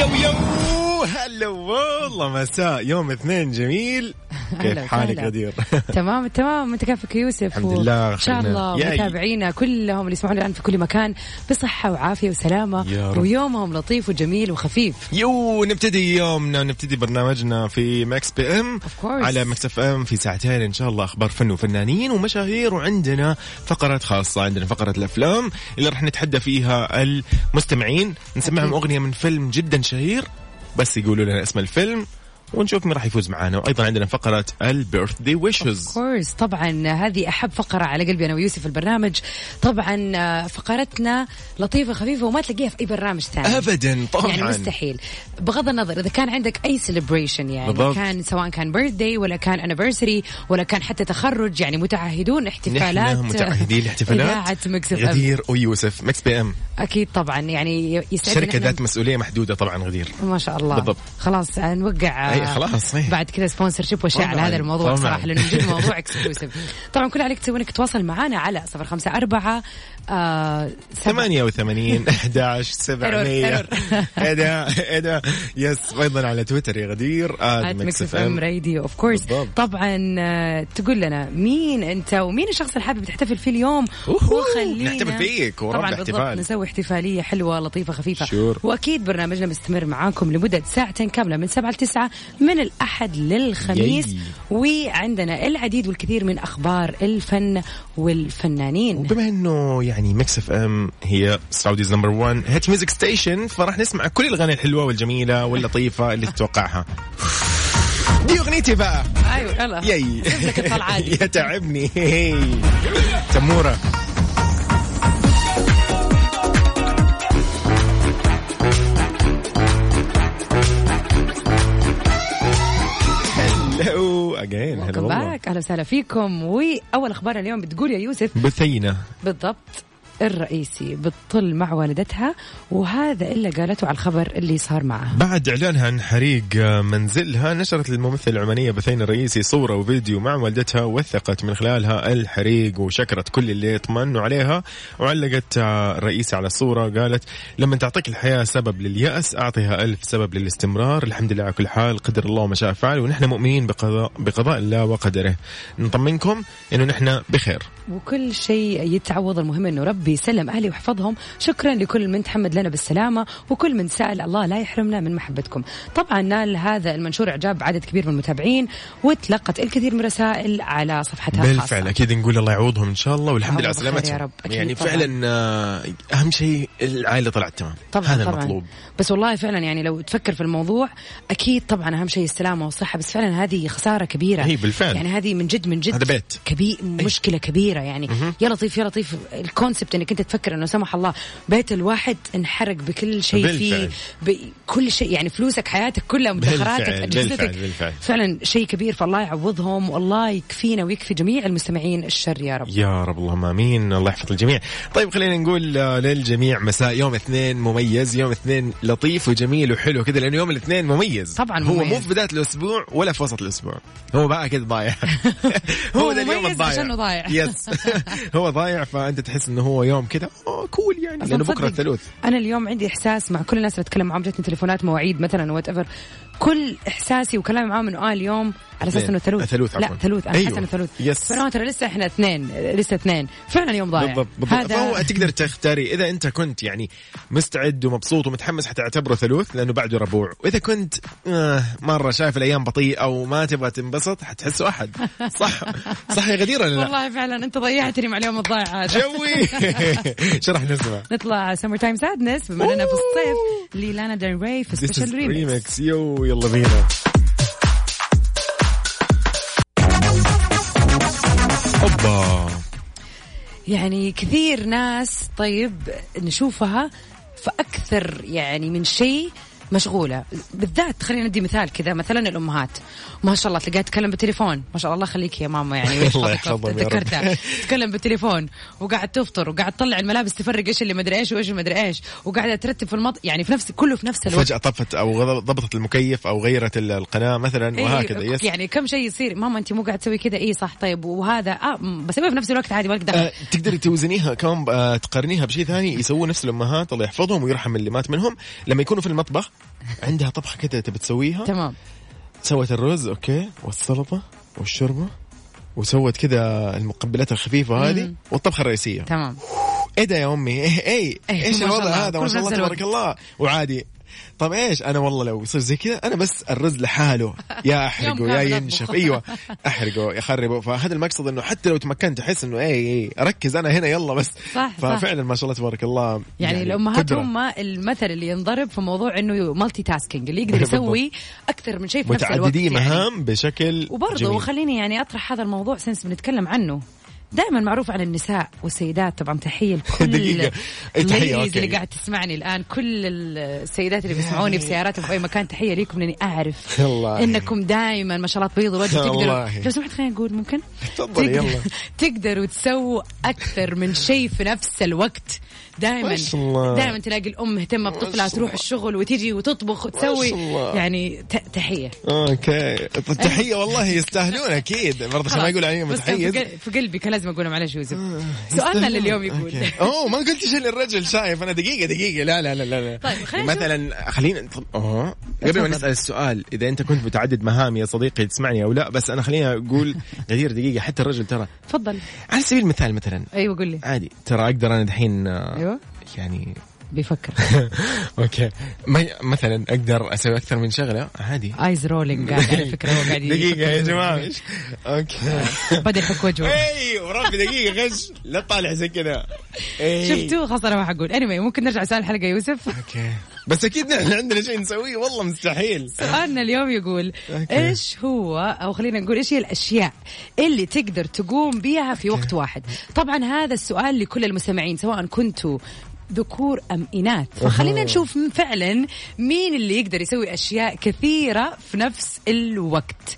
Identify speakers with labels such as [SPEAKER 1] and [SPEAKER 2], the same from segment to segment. [SPEAKER 1] يو يو هلا والله مساء يوم اثنين جميل كيف
[SPEAKER 2] أهلا
[SPEAKER 1] حالك
[SPEAKER 2] وسهلا.
[SPEAKER 1] غدير؟
[SPEAKER 2] تمام تمام انت كيفك يوسف
[SPEAKER 1] الحمد لله،
[SPEAKER 2] ان شاء
[SPEAKER 1] خلينا-
[SPEAKER 2] الله
[SPEAKER 1] ياي.
[SPEAKER 2] متابعينا كلهم اللي يسمعونا الان في كل مكان بصحه وعافيه
[SPEAKER 1] يا
[SPEAKER 2] وسلامه
[SPEAKER 1] رب.
[SPEAKER 2] ويومهم لطيف وجميل وخفيف
[SPEAKER 1] يو نبتدي يومنا نبتدي برنامجنا في ماكس بي ام
[SPEAKER 2] Of course.
[SPEAKER 1] على ماكس اف ام في ساعتين ان شاء الله اخبار فن وفنانين ومشاهير وعندنا فقرات خاصه عندنا فقره الافلام اللي راح نتحدى فيها المستمعين نسمعهم اغنيه من فيلم جدا شهير بس يقولوا لنا اسم الفيلم ونشوف مين راح يفوز معانا وايضا عندنا فقره البيرث دي ويشز
[SPEAKER 2] كورس طبعا هذه احب فقره على قلبي انا ويوسف البرنامج طبعا آه، فقرتنا لطيفه خفيفه وما تلاقيها في اي برنامج ثاني
[SPEAKER 1] ابدا طبعا
[SPEAKER 2] يعني مستحيل بغض النظر اذا كان عندك اي سيلبريشن يعني
[SPEAKER 1] بالضبط.
[SPEAKER 2] كان سواء كان بيرث داي ولا كان انيفرساري ولا كان حتى تخرج يعني متعهدون احتفالات
[SPEAKER 1] نحن متعهدين لاحتفالات
[SPEAKER 2] اذاعه مكس اف أم.
[SPEAKER 1] غدير ويوسف مكس بي ام
[SPEAKER 2] اكيد طبعا يعني يسعدنا
[SPEAKER 1] شركه
[SPEAKER 2] إحنا-
[SPEAKER 1] ذات مسؤوليه محدوده طبعا غدير
[SPEAKER 2] ما شاء الله
[SPEAKER 1] بالضبط.
[SPEAKER 2] خلاص آه، نوقع
[SPEAKER 1] أي
[SPEAKER 2] آه،
[SPEAKER 1] خلاص، أي.
[SPEAKER 2] بعد كذا سبونسر شيب واشياء على
[SPEAKER 1] طبعاً،
[SPEAKER 2] هذا الموضوع
[SPEAKER 1] طبعاً.
[SPEAKER 2] صراحه لانه جد موضوع اكسكلوسيف طبعا كل عليك تسوي انك تتواصل معنا على 054 آه، سبعة.
[SPEAKER 1] 88 11 700
[SPEAKER 2] Error,
[SPEAKER 1] ايه ده ايه ده يس وايضا على تويتر يا غدير
[SPEAKER 2] ميكس اف ام راديو اوف كورس
[SPEAKER 1] بالضبط.
[SPEAKER 2] طبعا آه، تقول لنا مين انت ومين الشخص اللي حابب تحتفل فيه اليوم
[SPEAKER 1] أوهو،
[SPEAKER 2] وخلينا
[SPEAKER 1] نحتفل فيك ورب
[SPEAKER 2] طبعا بالضبط
[SPEAKER 1] احتفال.
[SPEAKER 2] نسوي احتفاليه حلوه لطيفه خفيفه
[SPEAKER 1] شور.
[SPEAKER 2] واكيد برنامجنا مستمر معاكم لمده ساعتين كامله من 7 ل 9 من الاحد للخميس
[SPEAKER 1] ياي.
[SPEAKER 2] وعندنا العديد والكثير من اخبار الفن والفنانين
[SPEAKER 1] بما انه يعني ميكس اف ام هي سعوديز نمبر 1 هيت ميوزك ستيشن فراح نسمع كل الاغاني الحلوه والجميله واللطيفه اللي تتوقعها دي اغنيتي بقى
[SPEAKER 2] ايوه يلا
[SPEAKER 1] ياي
[SPEAKER 2] شوف لك الطلعه دي
[SPEAKER 1] يا تعبني تموره هلو اجين هلا
[SPEAKER 2] Welcome
[SPEAKER 1] والله
[SPEAKER 2] back. اهلا وسهلا فيكم واول اخبارنا اليوم بتقول يا يوسف
[SPEAKER 1] بثينة
[SPEAKER 2] بالضبط الرئيسي بتطل مع والدتها وهذا اللي قالته على الخبر اللي صار معها
[SPEAKER 1] بعد إعلانها عن حريق آه، منزلها نشرت الممثلة العمانية بثينة الرئيسي صورة وفيديو مع والدتها وثقت من خلالها الحريق وشكرت كل اللي اطمأنوا عليها وعلقت آه، الرئيسة على الصورة قالت لما تعطيك الحياة سبب لليأس أعطيها ألف سبب للاستمرار الحمد لله على كل حال قدر الله وما شاء فعل ونحن مؤمنين بقضاء, بقضاء الله وقدره نطمنكم أنه نحن بخير
[SPEAKER 2] وكل شيء يتعوض المهم انه ربي يسلم اهلي ويحفظهم شكرا لكل من تحمد لنا بالسلامه وكل من سال الله لا يحرمنا من محبتكم طبعا نال هذا المنشور اعجاب عدد كبير من المتابعين وتلقت الكثير من الرسائل على صفحتها
[SPEAKER 1] بالفعل
[SPEAKER 2] الخاصه
[SPEAKER 1] اكيد نقول الله يعوضهم ان شاء الله والحمد لله على
[SPEAKER 2] يعوض بالخير
[SPEAKER 1] سلامتهم
[SPEAKER 2] يا رب. أكيد
[SPEAKER 1] يعني
[SPEAKER 2] طبعاً.
[SPEAKER 1] فعلا آه، اهم شيء العائله طلعت تمام
[SPEAKER 2] طبعا
[SPEAKER 1] هذا
[SPEAKER 2] طبعا
[SPEAKER 1] المطلوب
[SPEAKER 2] بس والله فعلا يعني لو تفكر في الموضوع اكيد طبعا اهم شيء السلامه والصحه بس فعلا هذه خساره كبيره
[SPEAKER 1] هي بالفعل.
[SPEAKER 2] يعني هذه من جد من جد
[SPEAKER 1] هذا بيت.
[SPEAKER 2] كبير
[SPEAKER 1] إيه.
[SPEAKER 2] مشكله كبيره يعني يا لطيف يا لطيف الكونسبت انك انت تفكر انه سمح الله بيت الواحد انحرق بكل شيء فيه
[SPEAKER 1] بالفعل.
[SPEAKER 2] بكل شيء يعني فلوسك حياتك كلها مدخراتك
[SPEAKER 1] بالفعل،
[SPEAKER 2] اجهزتك
[SPEAKER 1] بالفعل، بالفعل.
[SPEAKER 2] فعلا شيء كبير فالله يعوضهم والله يكفينا ويكفي جميع المستمعين الشر يا رب
[SPEAKER 1] يا رب اللهم امين الله يحفظ الجميع طيب خلينا نقول آه، للجميع مساء يوم اثنين مميز يوم اثنين لطيف وجميل وحلو كذا لانه يوم الاثنين مميز
[SPEAKER 2] طبعاً
[SPEAKER 1] هو
[SPEAKER 2] مميز.
[SPEAKER 1] مو في بدايه الاسبوع ولا في وسط الاسبوع هو بقى كده ضايع هو
[SPEAKER 2] هو
[SPEAKER 1] ده اليوم
[SPEAKER 2] مميز
[SPEAKER 1] الضايع
[SPEAKER 2] عشانه ضايع.
[SPEAKER 1] يس هو ضايع فانت تحس انه هو يوم كذا آه، كول يعني
[SPEAKER 2] أصلاً
[SPEAKER 1] لانه بكره
[SPEAKER 2] تصدق
[SPEAKER 1] الثلاث
[SPEAKER 2] انا اليوم عندي احساس مع كل الناس اللي اتكلم معاهم جتني تليفونات مواعيد مثلا وات ايفر كل احساسي وكلامي معاهم انه اه اليوم على اساس
[SPEAKER 1] اثنين.
[SPEAKER 2] انه ثلوث
[SPEAKER 1] ثلوث
[SPEAKER 2] لا
[SPEAKER 1] إيه. عفواً.
[SPEAKER 2] ثلوث انا
[SPEAKER 1] أيوه.
[SPEAKER 2] حاسه انه ثلوث
[SPEAKER 1] يس.
[SPEAKER 2] فأنا ترى لسه احنا اثنين لسه اثنين فعلا يوم ضايع
[SPEAKER 1] بالضبط بالضبط
[SPEAKER 2] هذا
[SPEAKER 1] فهو تقدر تختاري اذا انت كنت يعني مستعد ومبسوط ومتحمس حتعتبره ثلوث لانه بعده ربوع واذا كنت آه مره شايف الايام بطيئه وما تبغى تنبسط حتحسه احد صح صح يا غدير ولا لا
[SPEAKER 2] والله فعلا انت ضيعتني مع اليوم الضايع هذا
[SPEAKER 1] جوي شرح نسمع
[SPEAKER 2] نطلع سمر تايم سادنس بما اننا في الصيف للانا ديل ري في
[SPEAKER 1] This is
[SPEAKER 2] سبيشال ريميكس
[SPEAKER 1] remix يو يلا بينا اوبا
[SPEAKER 2] يعني كثير ناس طيب نشوفها في اكثر يعني من شيء مشغوله بالذات خلينا ندي مثال كذا مثلا الامهات ما شاء الله تلقاها تتكلم بالتليفون ما شاء الله خليك يا ماما يعني ويش
[SPEAKER 1] الله
[SPEAKER 2] خاطرك
[SPEAKER 1] يحفظهم يا رب.
[SPEAKER 2] تذكرتها تتكلم بالتليفون وقاعد تفطر وقاعد تطلع الملابس تفرق ايش اللي مدري ايش وايش اللي مدري ايش وقاعده ترتب في المط يعني في نفس كله في نفس الوقت
[SPEAKER 1] فجأة طفت أو غض- ضبطت المكيف أو غيرت ال- القناة مثلا
[SPEAKER 2] إيه،
[SPEAKER 1] وهكذا يس
[SPEAKER 2] يعني كم شيء يصير ماما انت مو قاعد تسوي كذا اي صح طيب وهذا اه م- بسويه في نفس الوقت عادي ما لك دخل
[SPEAKER 1] آه، تقدري توزنيها كمان آه، تقارنيها بشيء ثاني يسووه نفس الامهات الله يحفظهم ويرحم اللي مات منهم لما يكونوا في المطبخ عندها طبخه كده تبي تسويها
[SPEAKER 2] تمام
[SPEAKER 1] سوت الرز اوكي والسلطه والشوربه وسوت كذا المقبلات الخفيفه هذه والطبخه الرئيسيه
[SPEAKER 2] تمام
[SPEAKER 1] ايه ده يا امي ايه ايه
[SPEAKER 2] إيه،
[SPEAKER 1] ايش
[SPEAKER 2] ما شاء
[SPEAKER 1] الوضع
[SPEAKER 2] الله،
[SPEAKER 1] هذا
[SPEAKER 2] كل
[SPEAKER 1] ما شاء الله
[SPEAKER 2] نفس
[SPEAKER 1] تبارك الله وعادي طب ايش انا والله لو يصير زي كذا انا بس الرز لحاله يا احرقه
[SPEAKER 2] يوم
[SPEAKER 1] يا
[SPEAKER 2] كامل
[SPEAKER 1] ينشف
[SPEAKER 2] أطبخ.
[SPEAKER 1] ايوه احرقه يخربه فهذا المقصد انه حتى لو تمكنت احس انه اي اي إيه، ركز انا هنا يلا بس
[SPEAKER 2] صح، صح.
[SPEAKER 1] ففعلا ما شاء الله تبارك الله
[SPEAKER 2] يعني, الامهات
[SPEAKER 1] قدرة.
[SPEAKER 2] هم المثل اللي ينضرب في موضوع انه مالتي تاسكينج اللي يقدر يسوي اكثر من شيء في نفس الوقت
[SPEAKER 1] متعددي
[SPEAKER 2] يعني.
[SPEAKER 1] مهام بشكل
[SPEAKER 2] وبرضه
[SPEAKER 1] جميل.
[SPEAKER 2] خليني يعني اطرح هذا الموضوع سنس بنتكلم عنه دائما معروف عن النساء والسيدات طبعا تحيه لكل
[SPEAKER 1] دقيقة. إيه تحية،
[SPEAKER 2] ladies
[SPEAKER 1] أوكي.
[SPEAKER 2] اللي قاعد تسمعني الان كل السيدات اللي بيسمعوني بسياراتهم في اي مكان تحيه ليكم لاني اعرف
[SPEAKER 1] والله.
[SPEAKER 2] انكم دائما ما شاء الله تبيضوا الوجه
[SPEAKER 1] والله.
[SPEAKER 2] تقدروا لو سمحت خلينا نقول ممكن
[SPEAKER 1] تفضلي،
[SPEAKER 2] تقدر-
[SPEAKER 1] يلا.
[SPEAKER 2] تقدروا تسووا اكثر من شيء في نفس الوقت دائما
[SPEAKER 1] ما شاء الله.
[SPEAKER 2] دائما تلاقي الام مهتمه بطفلها تروح الشغل وتجي وتطبخ وتسوي
[SPEAKER 1] الله.
[SPEAKER 2] يعني ت- تحيه
[SPEAKER 1] اوكي تحيه والله يستاهلون اكيد برضه عشان ما يقول عليهم
[SPEAKER 2] بس
[SPEAKER 1] متحيز
[SPEAKER 2] في قل- في قلبي كان لازم اقولها معلش يوسف سؤالنا لليوم يقول
[SPEAKER 1] أوكي. اوه ما قلت شيء للرجل شايف انا دقيقه دقيقه لا لا لا لا
[SPEAKER 2] طيب، خلينا نشوف.
[SPEAKER 1] مثلا خلينا طب اه قبل ما
[SPEAKER 2] اتفضل.
[SPEAKER 1] نسال السؤال اذا انت كنت متعدد مهام يا صديقي تسمعني او لا بس انا خليني اقول غدير دقيقه حتى الرجل ترى
[SPEAKER 2] تفضل
[SPEAKER 1] على سبيل المثال مثلا
[SPEAKER 2] ايوه قول لي
[SPEAKER 1] عادي ترى اقدر انا دحين آه،
[SPEAKER 2] أيوة.
[SPEAKER 1] يعني
[SPEAKER 2] بيفكر
[SPEAKER 1] اوكي ما- مثلا اقدر اسوي اكثر من شغله عادي
[SPEAKER 2] ايز رولينج قاعد آه، على فكره هو قاعد آه،
[SPEAKER 1] دقيقه يا
[SPEAKER 2] يفكر.
[SPEAKER 1] جماعه إيش؟ اوكي
[SPEAKER 2] بدا يحك وجهه
[SPEAKER 1] اي وربي دقيقه غش لا تطالع زي كذا إي.
[SPEAKER 2] شفتوا خلاص انا ما حقول انمي ممكن نرجع لسؤال الحلقه يا يوسف
[SPEAKER 1] اوكي بس اكيد نحن عندنا شيء نسويه والله مستحيل
[SPEAKER 2] سؤالنا اليوم يقول
[SPEAKER 1] أوكي.
[SPEAKER 2] ايش هو او خلينا نقول ايش هي الاشياء اللي تقدر تقوم بها في وقت واحد طبعا هذا السؤال لكل المستمعين سواء كنتوا ذكور ام اناث فخلينا نشوف م- فعلا مين اللي يقدر يسوي اشياء كثيره في نفس الوقت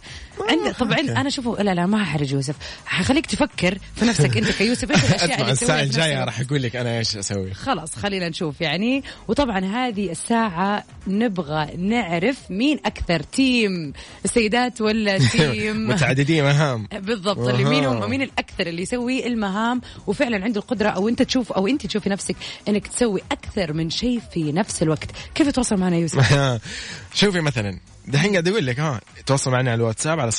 [SPEAKER 2] عند طبعا انا شوفوا لا لا ما هحرج يوسف حخليك تفكر في نفسك انت كيوسف ايش الاشياء
[SPEAKER 1] اسمع
[SPEAKER 2] اللي
[SPEAKER 1] الساعه
[SPEAKER 2] تسويها في نفس
[SPEAKER 1] الجايه
[SPEAKER 2] الوقت؟
[SPEAKER 1] راح اقول لك انا ايش اسوي
[SPEAKER 2] خلاص خلينا نشوف يعني وطبعا هذه الساعة نبغى نعرف مين أكثر تيم السيدات ولا تيم
[SPEAKER 1] متعددين مهام
[SPEAKER 2] بالضبط اللي مين هم مين الأكثر اللي يسوي المهام وفعلا عنده القدرة أو أنت تشوف أو أنت تشوفي نفسك أنك تسوي أكثر من شيء في نفس الوقت كيف تتواصل معنا يوسف؟
[SPEAKER 1] شوفي مثلا دحين قاعد اقول لك ها تواصل معنا على الواتساب على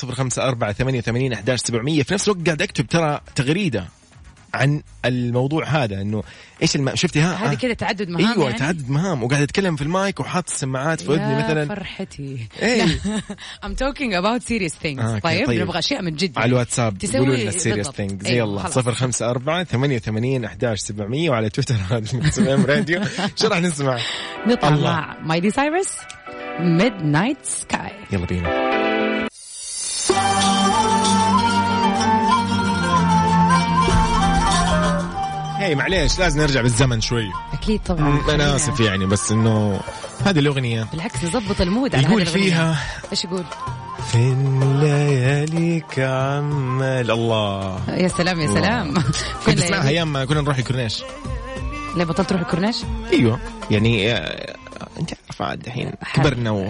[SPEAKER 1] 05488 11700 في نفس الوقت قاعد اكتب ترى تغريده عن الموضوع هذا انه ايش الم... شفتي ها
[SPEAKER 2] هذه كذا تعدد مهام
[SPEAKER 1] ايوه
[SPEAKER 2] يعني؟
[SPEAKER 1] تعدد مهام وقاعد اتكلم في المايك وحاط السماعات في
[SPEAKER 2] يا
[SPEAKER 1] اذني مثلا
[SPEAKER 2] فرحتي
[SPEAKER 1] إيه.
[SPEAKER 2] I'm talking about serious things
[SPEAKER 1] آه، أوكي،
[SPEAKER 2] طيب,
[SPEAKER 1] طيب.
[SPEAKER 2] نبغى أشياء من جد يعني.
[SPEAKER 1] على الواتساب
[SPEAKER 2] تسوي-
[SPEAKER 1] قولوا لنا السيريس
[SPEAKER 2] بالضبط.
[SPEAKER 1] ثينجز
[SPEAKER 2] أيوة،
[SPEAKER 1] يلا
[SPEAKER 2] خلاص.
[SPEAKER 1] 054 88 11700 وعلى تويتر @مكسمام راديو شو راح نسمع؟
[SPEAKER 2] نطلع
[SPEAKER 1] الله.
[SPEAKER 2] مع مايدي سايرس ميد نايت سكاي
[SPEAKER 1] يلا بينا هي معليش لازم نرجع بالزمن شوي
[SPEAKER 2] اكيد
[SPEAKER 1] م-
[SPEAKER 2] طبعا
[SPEAKER 1] انا اسف يعني بس انه هذه الاغنيه
[SPEAKER 2] بالعكس يظبط المود على
[SPEAKER 1] يقول
[SPEAKER 2] هذه الأغنية.
[SPEAKER 1] فيها
[SPEAKER 2] ايش يقول؟
[SPEAKER 1] فين لياليك عمال الله
[SPEAKER 2] يا سلام يا سلام
[SPEAKER 1] كنت اسمعها ايام ما كنا نروح الكورنيش
[SPEAKER 2] ليه بطلت تروح الكورنيش؟
[SPEAKER 1] ايوه يعني آه، انت عارفه عاد الحين كبرنا و...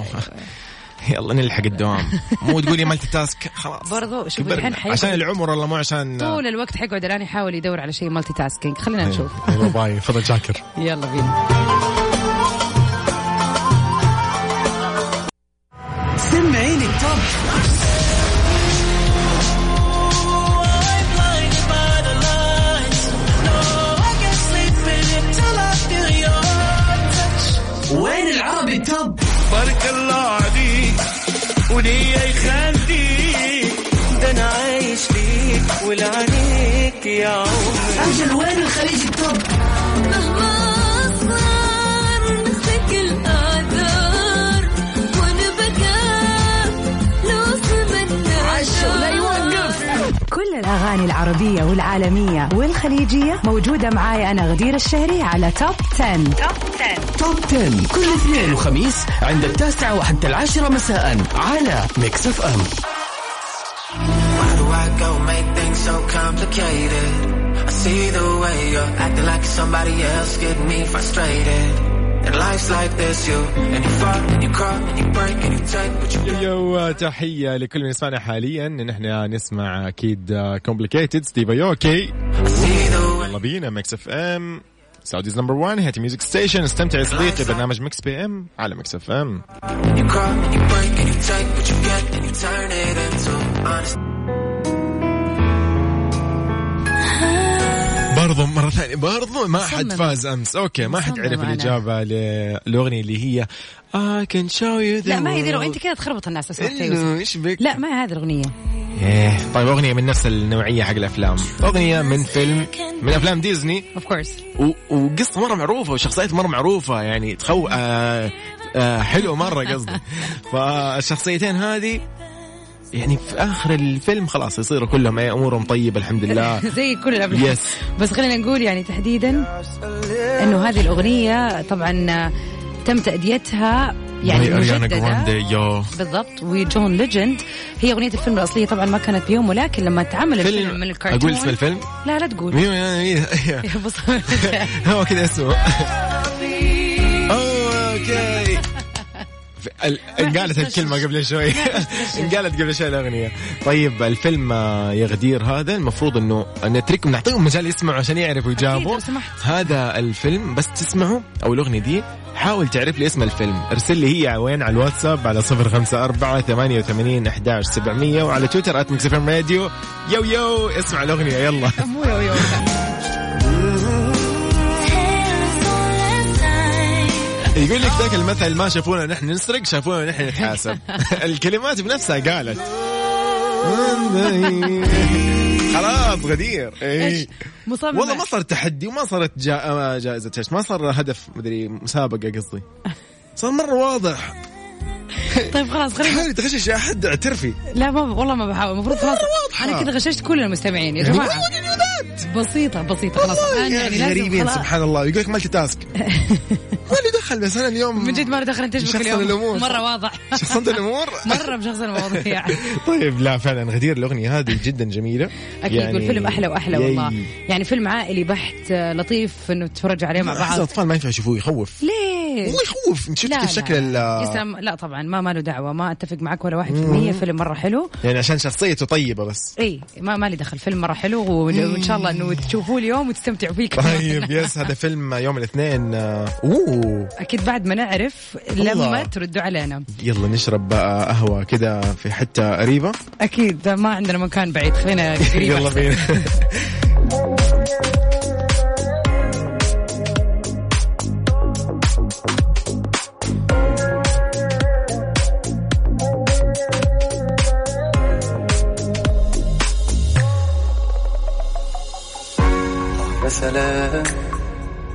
[SPEAKER 1] يلا نلحق الدوام مو تقولي مالتي تاسك خلاص
[SPEAKER 2] برضو شوف
[SPEAKER 1] كبرنا.
[SPEAKER 2] الحين حيقعد-
[SPEAKER 1] عشان العمر والله مو عشان
[SPEAKER 2] طول الوقت حيقعد الان يحاول يدور على شيء مالتي تاسكينج خلينا
[SPEAKER 1] أيوه.
[SPEAKER 2] نشوف
[SPEAKER 1] يلا باي تفضل شاكر
[SPEAKER 2] يلا بينا
[SPEAKER 3] سمعيني التوب وين العربي التوب
[SPEAKER 4] بارك الله عليك وليا يخليك ده انا عايش ليك ولعنيك يا عمري
[SPEAKER 3] اجل وين الخليج التوب
[SPEAKER 5] مهما أصغر نخفق الآثار ونبكى لو سمنا
[SPEAKER 3] عاش ولا يوقف
[SPEAKER 6] كل الأغاني العربية والعالمية والخليجية موجودة معاي أنا غدير الشهري على توب 10
[SPEAKER 3] توب 10 كل اثنين وخميس عند التاسعة وحتى العاشرة مساء على ميكس اف ام
[SPEAKER 7] Why do I go make things so complicated? I see the way you're acting like somebody else, getting me frustrated. And life's like this, you and you fall and you crawl and you break and you take what you
[SPEAKER 1] يو يو تحية لكل من يسمعنا حاليا نحن نسمع آه، اكيد كومبليكيتد ستيف يوكي
[SPEAKER 7] see the way.
[SPEAKER 1] يلا بينا ميكس اف ام سعوديز نمبر 1 هاتي ميوزك ستيشن استمتع يا صديقي برنامج ميكس بي ام على ميكس اف ام
[SPEAKER 7] You crawl and you break and you take what you get and you turn it into honest.
[SPEAKER 1] برضو مرة ثانية برضو ما حد
[SPEAKER 2] مصمم.
[SPEAKER 1] فاز امس اوكي ما حد
[SPEAKER 2] مصمم
[SPEAKER 1] عرف
[SPEAKER 2] أنا.
[SPEAKER 1] الاجابة للاغنية اللي هي I can show you the
[SPEAKER 2] لا ما هي ذي
[SPEAKER 1] world.
[SPEAKER 2] الأغنية. انت كذا تخربط الناس لو سمحت يا
[SPEAKER 1] إنه
[SPEAKER 2] يوسف.
[SPEAKER 1] ايش بك؟
[SPEAKER 2] لا ما هي هذه الاغنيه
[SPEAKER 1] إيه، طيب اغنية من نفس النوعية حق الافلام اغنية من فيلم من افلام ديزني
[SPEAKER 2] اوف كورس
[SPEAKER 1] و- وقصه مره معروفه وشخصيات مره معروفه يعني تخو آه آه حلو مره قصدي فالشخصيتين هذه يعني في اخر الفيلم خلاص يصيروا كلهم ايه امورهم طيبه الحمد لله
[SPEAKER 2] زي كل الافلام
[SPEAKER 1] Yes.
[SPEAKER 2] بس خلينا نقول يعني تحديدا انه هذه الاغنيه طبعا تم تاديتها يعني مجدده
[SPEAKER 1] يو
[SPEAKER 2] بالضبط وجون ليجند هي اغنيه الفيلم الاصليه طبعا ما كانت بيوم ولكن لما تعمل الفيلم من
[SPEAKER 1] فيلم
[SPEAKER 2] الكرتون
[SPEAKER 1] اقول اسم الفيلم
[SPEAKER 2] لا لا تقول
[SPEAKER 1] مين مين- مين-
[SPEAKER 2] بص-
[SPEAKER 1] هو كذا اسمه اوكي ال- انقالت الكلمة قبل شوي انقالت قبل شوي الأغنية طيب الفيلم آه، يا غدير هذا المفروض أنه نتركهم نعطيهم مجال يسمعوا عشان يعرفوا
[SPEAKER 2] أكيد،
[SPEAKER 1] يجابوا
[SPEAKER 2] لو سمحت.
[SPEAKER 1] هذا الفيلم بس تسمعه أو الأغنية دي حاول تعرف لي اسم الفيلم ارسل لي هي وين على الواتساب على 054 88 11 700 وعلى تويتر ات راديو يو يو اسمع الأغنية يلا
[SPEAKER 2] مو يو يو
[SPEAKER 1] يقول لك ذاك المثل ما شافونا نحن نسرق شافونا نحن نتحاسب الكلمات بنفسها قالت خلاص غدير إيه.
[SPEAKER 2] مصمم
[SPEAKER 1] والله ما صار تحدي وما صارت جا... آه، جائزة ايش ما صار هدف مدري مسابقة قصدي صار مرة واضح
[SPEAKER 2] طيب خلاص خلينا
[SPEAKER 1] حاولي تغشش احد اعترفي
[SPEAKER 2] لا ما والله ما بحاول المفروض خلاص
[SPEAKER 1] واضحة.
[SPEAKER 2] انا كذا غششت كل المستمعين يا
[SPEAKER 1] يعني
[SPEAKER 2] جماعه
[SPEAKER 1] والله كلمات.
[SPEAKER 2] بسيطه بسيطه خلاص الان
[SPEAKER 1] يا
[SPEAKER 2] يعني
[SPEAKER 1] أخي غريبين
[SPEAKER 2] لازم خلاص
[SPEAKER 1] سبحان الله يقول لك مالتي تاسك ما لي دخل بس انا اليوم
[SPEAKER 2] من جد ما له دخل انت في
[SPEAKER 1] شخصن
[SPEAKER 2] اليوم
[SPEAKER 1] الأمور.
[SPEAKER 2] مره واضح
[SPEAKER 1] شخصنت الامور
[SPEAKER 2] مره مشخصن المواضيع
[SPEAKER 1] طيب لا فعلا غدير الاغنيه هذه جدا جميله
[SPEAKER 2] اكيد يعني والفيلم احلى واحلى
[SPEAKER 1] ياي.
[SPEAKER 2] والله يعني فيلم عائلي بحت آه، لطيف انه تتفرجوا عليه مع
[SPEAKER 1] احس
[SPEAKER 2] بعض
[SPEAKER 1] الاطفال ما ينفع يشوفوه يخوف
[SPEAKER 2] ليه
[SPEAKER 1] والله يخوف انت شفت
[SPEAKER 2] لا
[SPEAKER 1] كيف شكل
[SPEAKER 2] لا.
[SPEAKER 1] ال-
[SPEAKER 2] يسلم لا طبعا ما ما له دعوه ما اتفق معك ولا واحد في المية فيلم مره حلو
[SPEAKER 1] يعني عشان شخصيته طيبه بس
[SPEAKER 2] اي ما ما لي دخل فيلم مره حلو وان وإن شاء الله انه تشوفوه اليوم وتستمتعوا فيه كمان.
[SPEAKER 1] طيب يس هذا فيلم يوم الاثنين آه، اوه
[SPEAKER 2] اكيد بعد ما نعرف لما
[SPEAKER 1] الله.
[SPEAKER 2] تردوا علينا
[SPEAKER 1] يلا نشرب بقى قهوه كده في حته قريبه
[SPEAKER 2] اكيد ما عندنا مكان بعيد خلينا قريب
[SPEAKER 1] يلا
[SPEAKER 2] أحسن.
[SPEAKER 1] بينا
[SPEAKER 7] يا سلام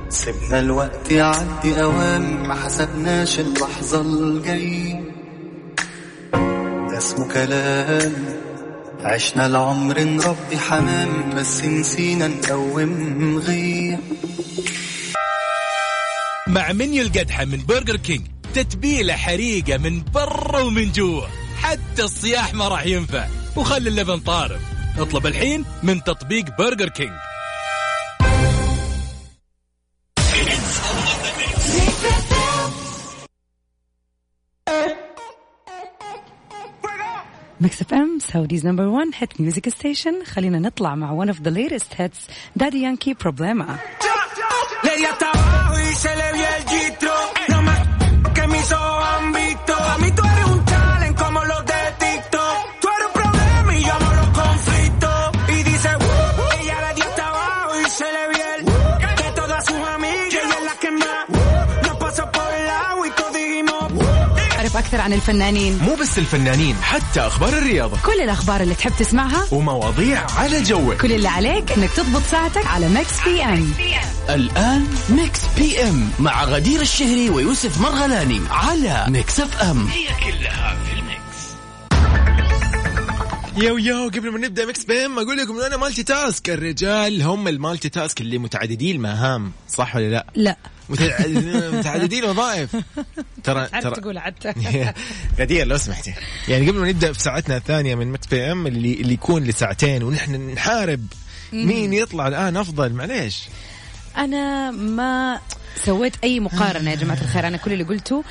[SPEAKER 7] سيبنا الوقت يعدي اوام ما حسبناش اللحظة الجاية ده اسمه كلام عشنا العمر نربي حمام بس نسينا نقوم غير
[SPEAKER 8] مع منيو القدحة من برجر كينج تتبيلة حريقة من برا ومن جوا حتى الصياح ما راح ينفع وخلي اللبن طارد اطلب الحين من تطبيق برجر كينج
[SPEAKER 2] ميكس اف ام سعوديز نمبر 1 هيت ميوزك ستيشن خلينا نطلع مع ون اوف ذا ليتست هيتس دادي يانكي بروبليما
[SPEAKER 4] Le di hasta abajo y se le vio el gistro. No más que mis ojos han visto. A mí tú eres un talent como los de TikTok. Tú eres un problema y yo amo los conflictos. Y dice, "Uh, uh". ella le di hasta abajo y se le vio el de todas sus amigas. Ella es la que más nos pasó por el agua y todos dijimos,
[SPEAKER 2] اعرف اكثر عن الفنانين
[SPEAKER 3] مو بس الفنانين حتى أخبار الرياضة
[SPEAKER 2] كل الاخبار اللي تحب تسمعها
[SPEAKER 3] ومواضيع على جوك
[SPEAKER 2] كل اللي عليك انك تضبط ساعتك على ميكس بي ام
[SPEAKER 3] الآن ميكس بي ام مع غدير الشهري ويوسف مرغلاني على ميكس اف ام
[SPEAKER 1] يو يو قبل ما نبدا مكس بيم اقول لكم إن انا مالتي تاسك الرجال هم المالتي تاسك اللي متعددي المهام صح ولا لا
[SPEAKER 2] لا
[SPEAKER 1] متع- متعددي الوظائف ترى
[SPEAKER 2] عرفت
[SPEAKER 1] ترى
[SPEAKER 2] تقول عدت
[SPEAKER 1] غدير لو سمحتي يعني قبل ما نبدا في ساعتنا الثانيه من مكس بي ام اللي اللي يكون لساعتين ونحن نحارب مين يطلع الان افضل معليش
[SPEAKER 2] انا ما سويت اي مقارنه يا جماعه الخير انا كل اللي قلته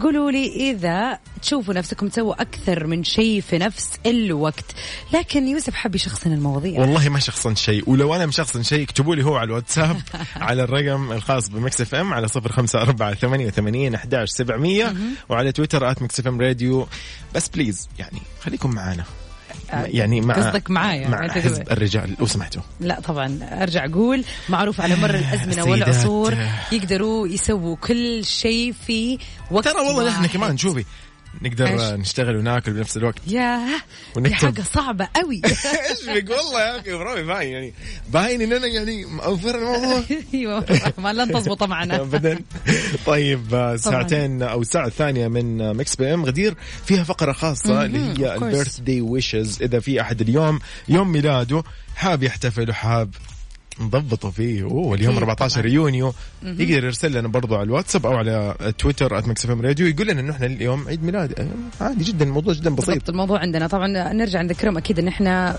[SPEAKER 2] قولوا لي اذا تشوفوا نفسكم تسووا اكثر من شيء في نفس الوقت لكن يوسف حب يشخصن المواضيع
[SPEAKER 1] والله ما شخصا شيء ولو انا مشخصا شيء اكتبوا لي هو على الواتساب على الرقم الخاص بمكس اف ام على 05488 11700 وعلى تويتر ات مكس اف ام راديو بس بليز يعني خليكم معانا يعني مع
[SPEAKER 2] آه، قصدك معايا،
[SPEAKER 1] مع
[SPEAKER 2] أنت
[SPEAKER 1] حزب
[SPEAKER 2] قصدك.
[SPEAKER 1] الرجال لو سمحتوا
[SPEAKER 2] لا طبعا ارجع اقول معروف على مر الازمنه
[SPEAKER 1] السيدات.
[SPEAKER 2] والعصور يقدروا يسووا كل شيء في وقت
[SPEAKER 1] ترى والله احنا
[SPEAKER 2] واحد.
[SPEAKER 1] كمان شوفي نقدر
[SPEAKER 2] إيش؟
[SPEAKER 1] نشتغل وناكل بنفس الوقت
[SPEAKER 2] يا دي
[SPEAKER 1] ونكتب.
[SPEAKER 2] حاجه صعبه قوي
[SPEAKER 1] ايش بك والله يا اخي برافو باين يعني باين ان انا يعني مأوفر الموضوع
[SPEAKER 2] ايوه ما لن تزبط معنا
[SPEAKER 1] ابدا طيب آه، ساعتين او الساعه الثانيه من آه، ميكس بي ام غدير فيها فقره خاصه اللي هي
[SPEAKER 2] of course.
[SPEAKER 1] البيرث داي ويشز اذا في احد اليوم يوم ميلاده حاب يحتفل وحاب نضبطه فيه اوه اليوم
[SPEAKER 2] أكيد
[SPEAKER 1] 14
[SPEAKER 2] طبعاً.
[SPEAKER 1] يونيو يقدر يرسل لنا برضو على الواتساب او على تويتر @مكس اف ام راديو يقول لنا انه احنا اليوم عيد ميلاد آه، عادي جدا الموضوع جدا بسيط
[SPEAKER 2] بالضبط الموضوع عندنا طبعا نرجع نذكرهم اكيد ان احنا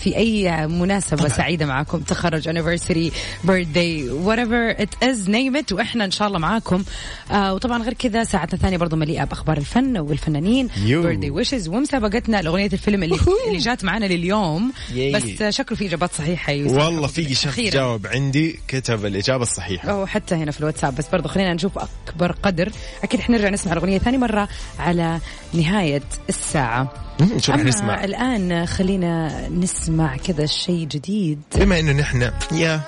[SPEAKER 2] في اي مناسبه طبعا. سعيده معاكم تخرج anniversary birthday whatever it is name it واحنا ان شاء الله معاكم آه وطبعا غير كذا ساعتنا الثانيه برضو مليئه باخبار الفن والفنانين
[SPEAKER 1] يو.
[SPEAKER 2] birthday wishes ومسابقتنا لاغنيه الفيلم اللي, اللي جات معنا لليوم
[SPEAKER 1] ياي.
[SPEAKER 2] بس آه، شكله في اجابات صحيحه يوسف
[SPEAKER 1] والله في شخص
[SPEAKER 2] أخيراً.
[SPEAKER 1] جاوب عندي كتب الاجابه الصحيحه
[SPEAKER 2] او حتى هنا في الواتساب بس برضو خلينا نشوف اكبر قدر اكيد حنرجع نسمع الاغنيه ثاني مره على نهايه الساعه
[SPEAKER 1] مم، شو رح
[SPEAKER 2] أما
[SPEAKER 1] نسمع
[SPEAKER 2] الآن خلينا نسمع كذا شيء جديد
[SPEAKER 1] بما انه نحن يا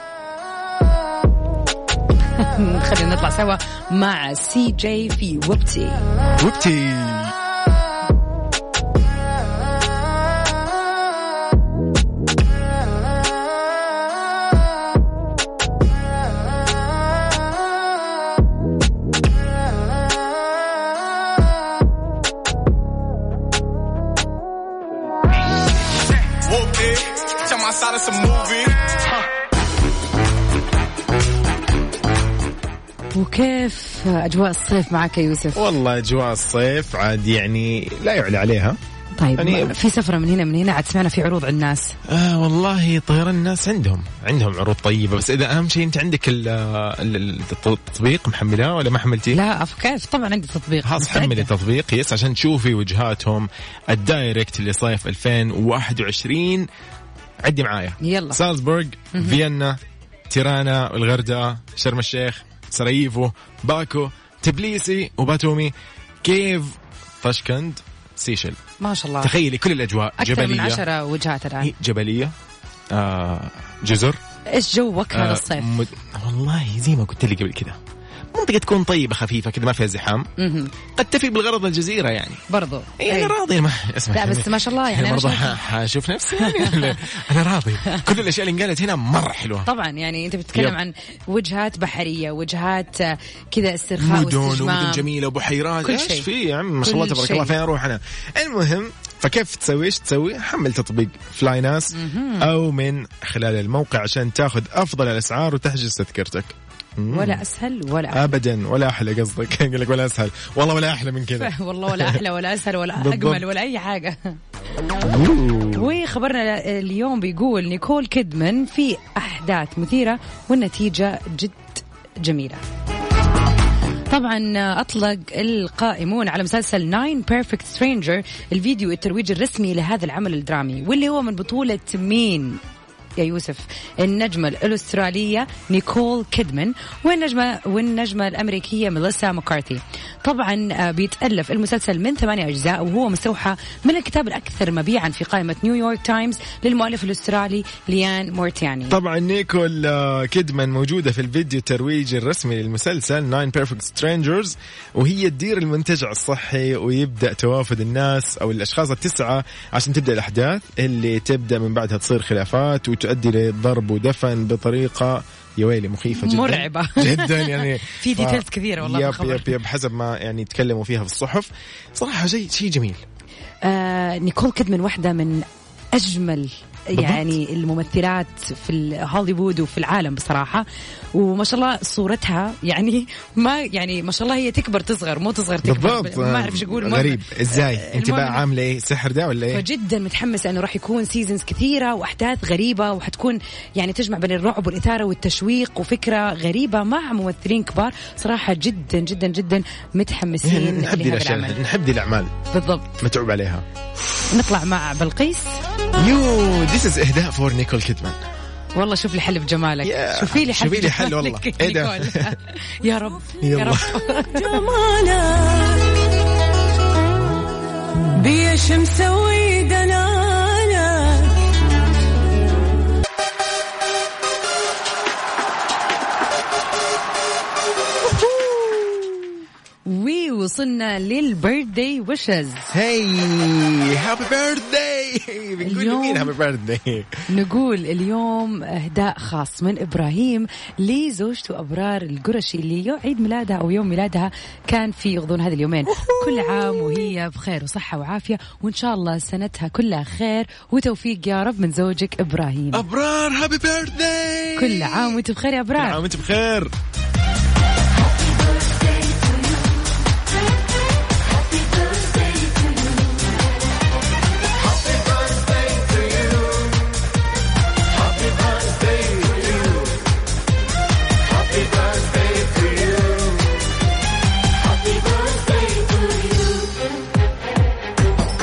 [SPEAKER 2] خلينا نطلع سوا مع سي جي في وبتي
[SPEAKER 1] وبتي
[SPEAKER 4] Whoop it. Tell my side it's a movie.
[SPEAKER 2] وكيف أجواء الصيف معك يا يوسف
[SPEAKER 1] والله اجواء الصيف عاد يعني لا يعلى عليها
[SPEAKER 2] طيب
[SPEAKER 1] يعني-
[SPEAKER 2] في سفرة من هنا من هنا عاد سمعنا في عروض على الناس
[SPEAKER 1] آه والله طيران الناس عندهم عندهم عروض طيبه بس اذا اهم شيء انت عندك ال- ال- التطبيق محملاه ولا ما حملتيه؟
[SPEAKER 2] لا أف كيف طبعا عندي تطبيق
[SPEAKER 1] خلاص حملي
[SPEAKER 2] متأكد.
[SPEAKER 1] تطبيق يس عشان تشوفي وجهاتهم الدايركت لصيف 2021 عدي معايا
[SPEAKER 2] يلا.
[SPEAKER 1] سالزبورغ فيينا تيرانا الغردقه شرم الشيخ سراييفو باكو تبليسي وباتومي كيف طشكند سيشل
[SPEAKER 2] ما شاء الله
[SPEAKER 1] تخيلي كل الاجواء
[SPEAKER 2] آه. أكثر من
[SPEAKER 1] جبليه
[SPEAKER 2] عشرة وجهات الآن
[SPEAKER 1] هي جبليه آه جزر
[SPEAKER 2] إيش جوك هذا
[SPEAKER 1] آه،
[SPEAKER 2] الصيف
[SPEAKER 1] مد... والله زي ما قلت لي قبل كذا منطقه تكون طيبه خفيفه كذا ما فيها زحام
[SPEAKER 2] مهم.
[SPEAKER 1] قد تفي بالغرض الجزيره يعني
[SPEAKER 2] برضو
[SPEAKER 1] إيه انا
[SPEAKER 2] إيه.
[SPEAKER 1] راضي ما اسمع
[SPEAKER 2] لا، بس
[SPEAKER 1] يعني-
[SPEAKER 2] ما شاء الله يعني
[SPEAKER 1] أنا
[SPEAKER 2] أنا
[SPEAKER 1] برضه
[SPEAKER 2] شايفة.
[SPEAKER 1] ح- حاشوف نفسي يعني انا راضي كل الاشياء اللي انقالت هنا مره حلوه
[SPEAKER 2] طبعا يعني انت بتتكلم
[SPEAKER 1] يب.
[SPEAKER 2] عن وجهات بحريه وجهات آه، كذا استرخاء
[SPEAKER 1] مدن ومدن
[SPEAKER 2] واستجمام
[SPEAKER 1] جميله وبحيرات
[SPEAKER 2] كل
[SPEAKER 1] ايش
[SPEAKER 2] شيء.
[SPEAKER 1] في يا عم ما شاء الله
[SPEAKER 2] كل
[SPEAKER 1] تبارك
[SPEAKER 2] شيء.
[SPEAKER 1] الله فين اروح انا المهم فكيف تسوي ايش تسوي حمل تطبيق فلاي ناس او من خلال الموقع عشان تاخذ افضل الاسعار وتحجز تذكرتك مم. آه.
[SPEAKER 2] ولا اسهل ولا
[SPEAKER 1] ابدا ولا احلى قصدك يقول لك ولا اسهل والله ولا احلى من كذا
[SPEAKER 2] والله ولا احلى ولا اسهل ولا
[SPEAKER 1] بالضبط.
[SPEAKER 2] اجمل ولا اي حاجه وخبرنا اليوم بيقول نيكول كيدمان في احداث مثيره والنتيجه جد جميله طبعا اطلق القائمون على مسلسل ناين بيرفكت سترينجر الفيديو الترويج الرسمي لهذا العمل الدرامي واللي هو من بطوله مين يا يوسف النجمة الأسترالية نيكول كيدمان والنجمة والنجمة الأمريكية ميليسا مكارثي طبعا آه، بيتألف المسلسل من ثمانية أجزاء وهو مستوحى من الكتاب الأكثر مبيعا في قائمة نيويورك تايمز للمؤلف الأسترالي ليان مورتياني
[SPEAKER 1] طبعا نيكول آه، كيدمان موجودة في الفيديو الترويجي الرسمي للمسلسل ناين بيرفكت سترينجرز وهي تدير المنتجع الصحي ويبدأ توافد الناس أو الأشخاص التسعة عشان تبدأ الأحداث اللي تبدأ من بعدها تصير خلافات وتؤدي لضرب ودفن بطريقة يا ويلي مخيفة جدا
[SPEAKER 2] مرعبة.
[SPEAKER 1] جدا يعني
[SPEAKER 2] في details كثيرة والله
[SPEAKER 1] يب
[SPEAKER 2] بالخبر.
[SPEAKER 1] يب يب حسب ما يعني تكلموا فيها في الصحف صراحة شيء شيء جميل
[SPEAKER 2] آه، نيكول كيدمان واحدة من اجمل يعني الممثلات في هوليوود وفي العالم بصراحه وما شاء الله صورتها يعني ما يعني ما شاء الله هي تكبر تصغر مو تصغر تكبر
[SPEAKER 1] بالضبط
[SPEAKER 2] ما اعرف ايش اقول مرة.
[SPEAKER 1] غريب ازاي انت بقى
[SPEAKER 2] آه، المهم-
[SPEAKER 1] عامله ايه سحر ده ولا ايه
[SPEAKER 2] فجدا متحمسه انه راح يكون سيزونز كثيره واحداث غريبه وحتكون يعني تجمع بين الرعب والاثاره والتشويق وفكره غريبه مع ممثلين كبار صراحه جدا جدا جدا متحمسين
[SPEAKER 1] نحب دي
[SPEAKER 2] لهذا
[SPEAKER 1] الاشياء
[SPEAKER 2] العمل
[SPEAKER 1] نحب دي الاعمال
[SPEAKER 2] بالضبط
[SPEAKER 1] متعوب عليها
[SPEAKER 2] نطلع مع بلقيس
[SPEAKER 1] يو ذيس از اهداء فور نيكول كيدمان
[SPEAKER 2] والله شوف لي حل بجمالك
[SPEAKER 1] يا-
[SPEAKER 2] شوفي لي حل
[SPEAKER 1] شوفي لي حل
[SPEAKER 2] بجمالك
[SPEAKER 1] والله. إيه ده؟
[SPEAKER 2] نيكول. يا رب يا
[SPEAKER 1] يلا.
[SPEAKER 2] رب
[SPEAKER 5] بيا شمس ودنانا
[SPEAKER 2] وي وصلنا للبيرثدي ويشز
[SPEAKER 1] هاي هابي بيرثداي بنقول
[SPEAKER 2] اليوم-
[SPEAKER 1] لمين هابي بيرثداي
[SPEAKER 2] نقول اليوم اهداء خاص من ابراهيم لزوجته ابرار القرشي اللي يو- عيد ميلادها او يوم ميلادها كان في غضون هذه اليومين كل عام وهي بخير وصحه وعافيه وان شاء الله سنتها كلها خير وتوفيق يا رب من زوجك ابراهيم
[SPEAKER 1] ابرار هابي بيرثداي
[SPEAKER 2] كل عام وانت بخير يا
[SPEAKER 1] كل
[SPEAKER 2] ابرار
[SPEAKER 1] عام وانت بخير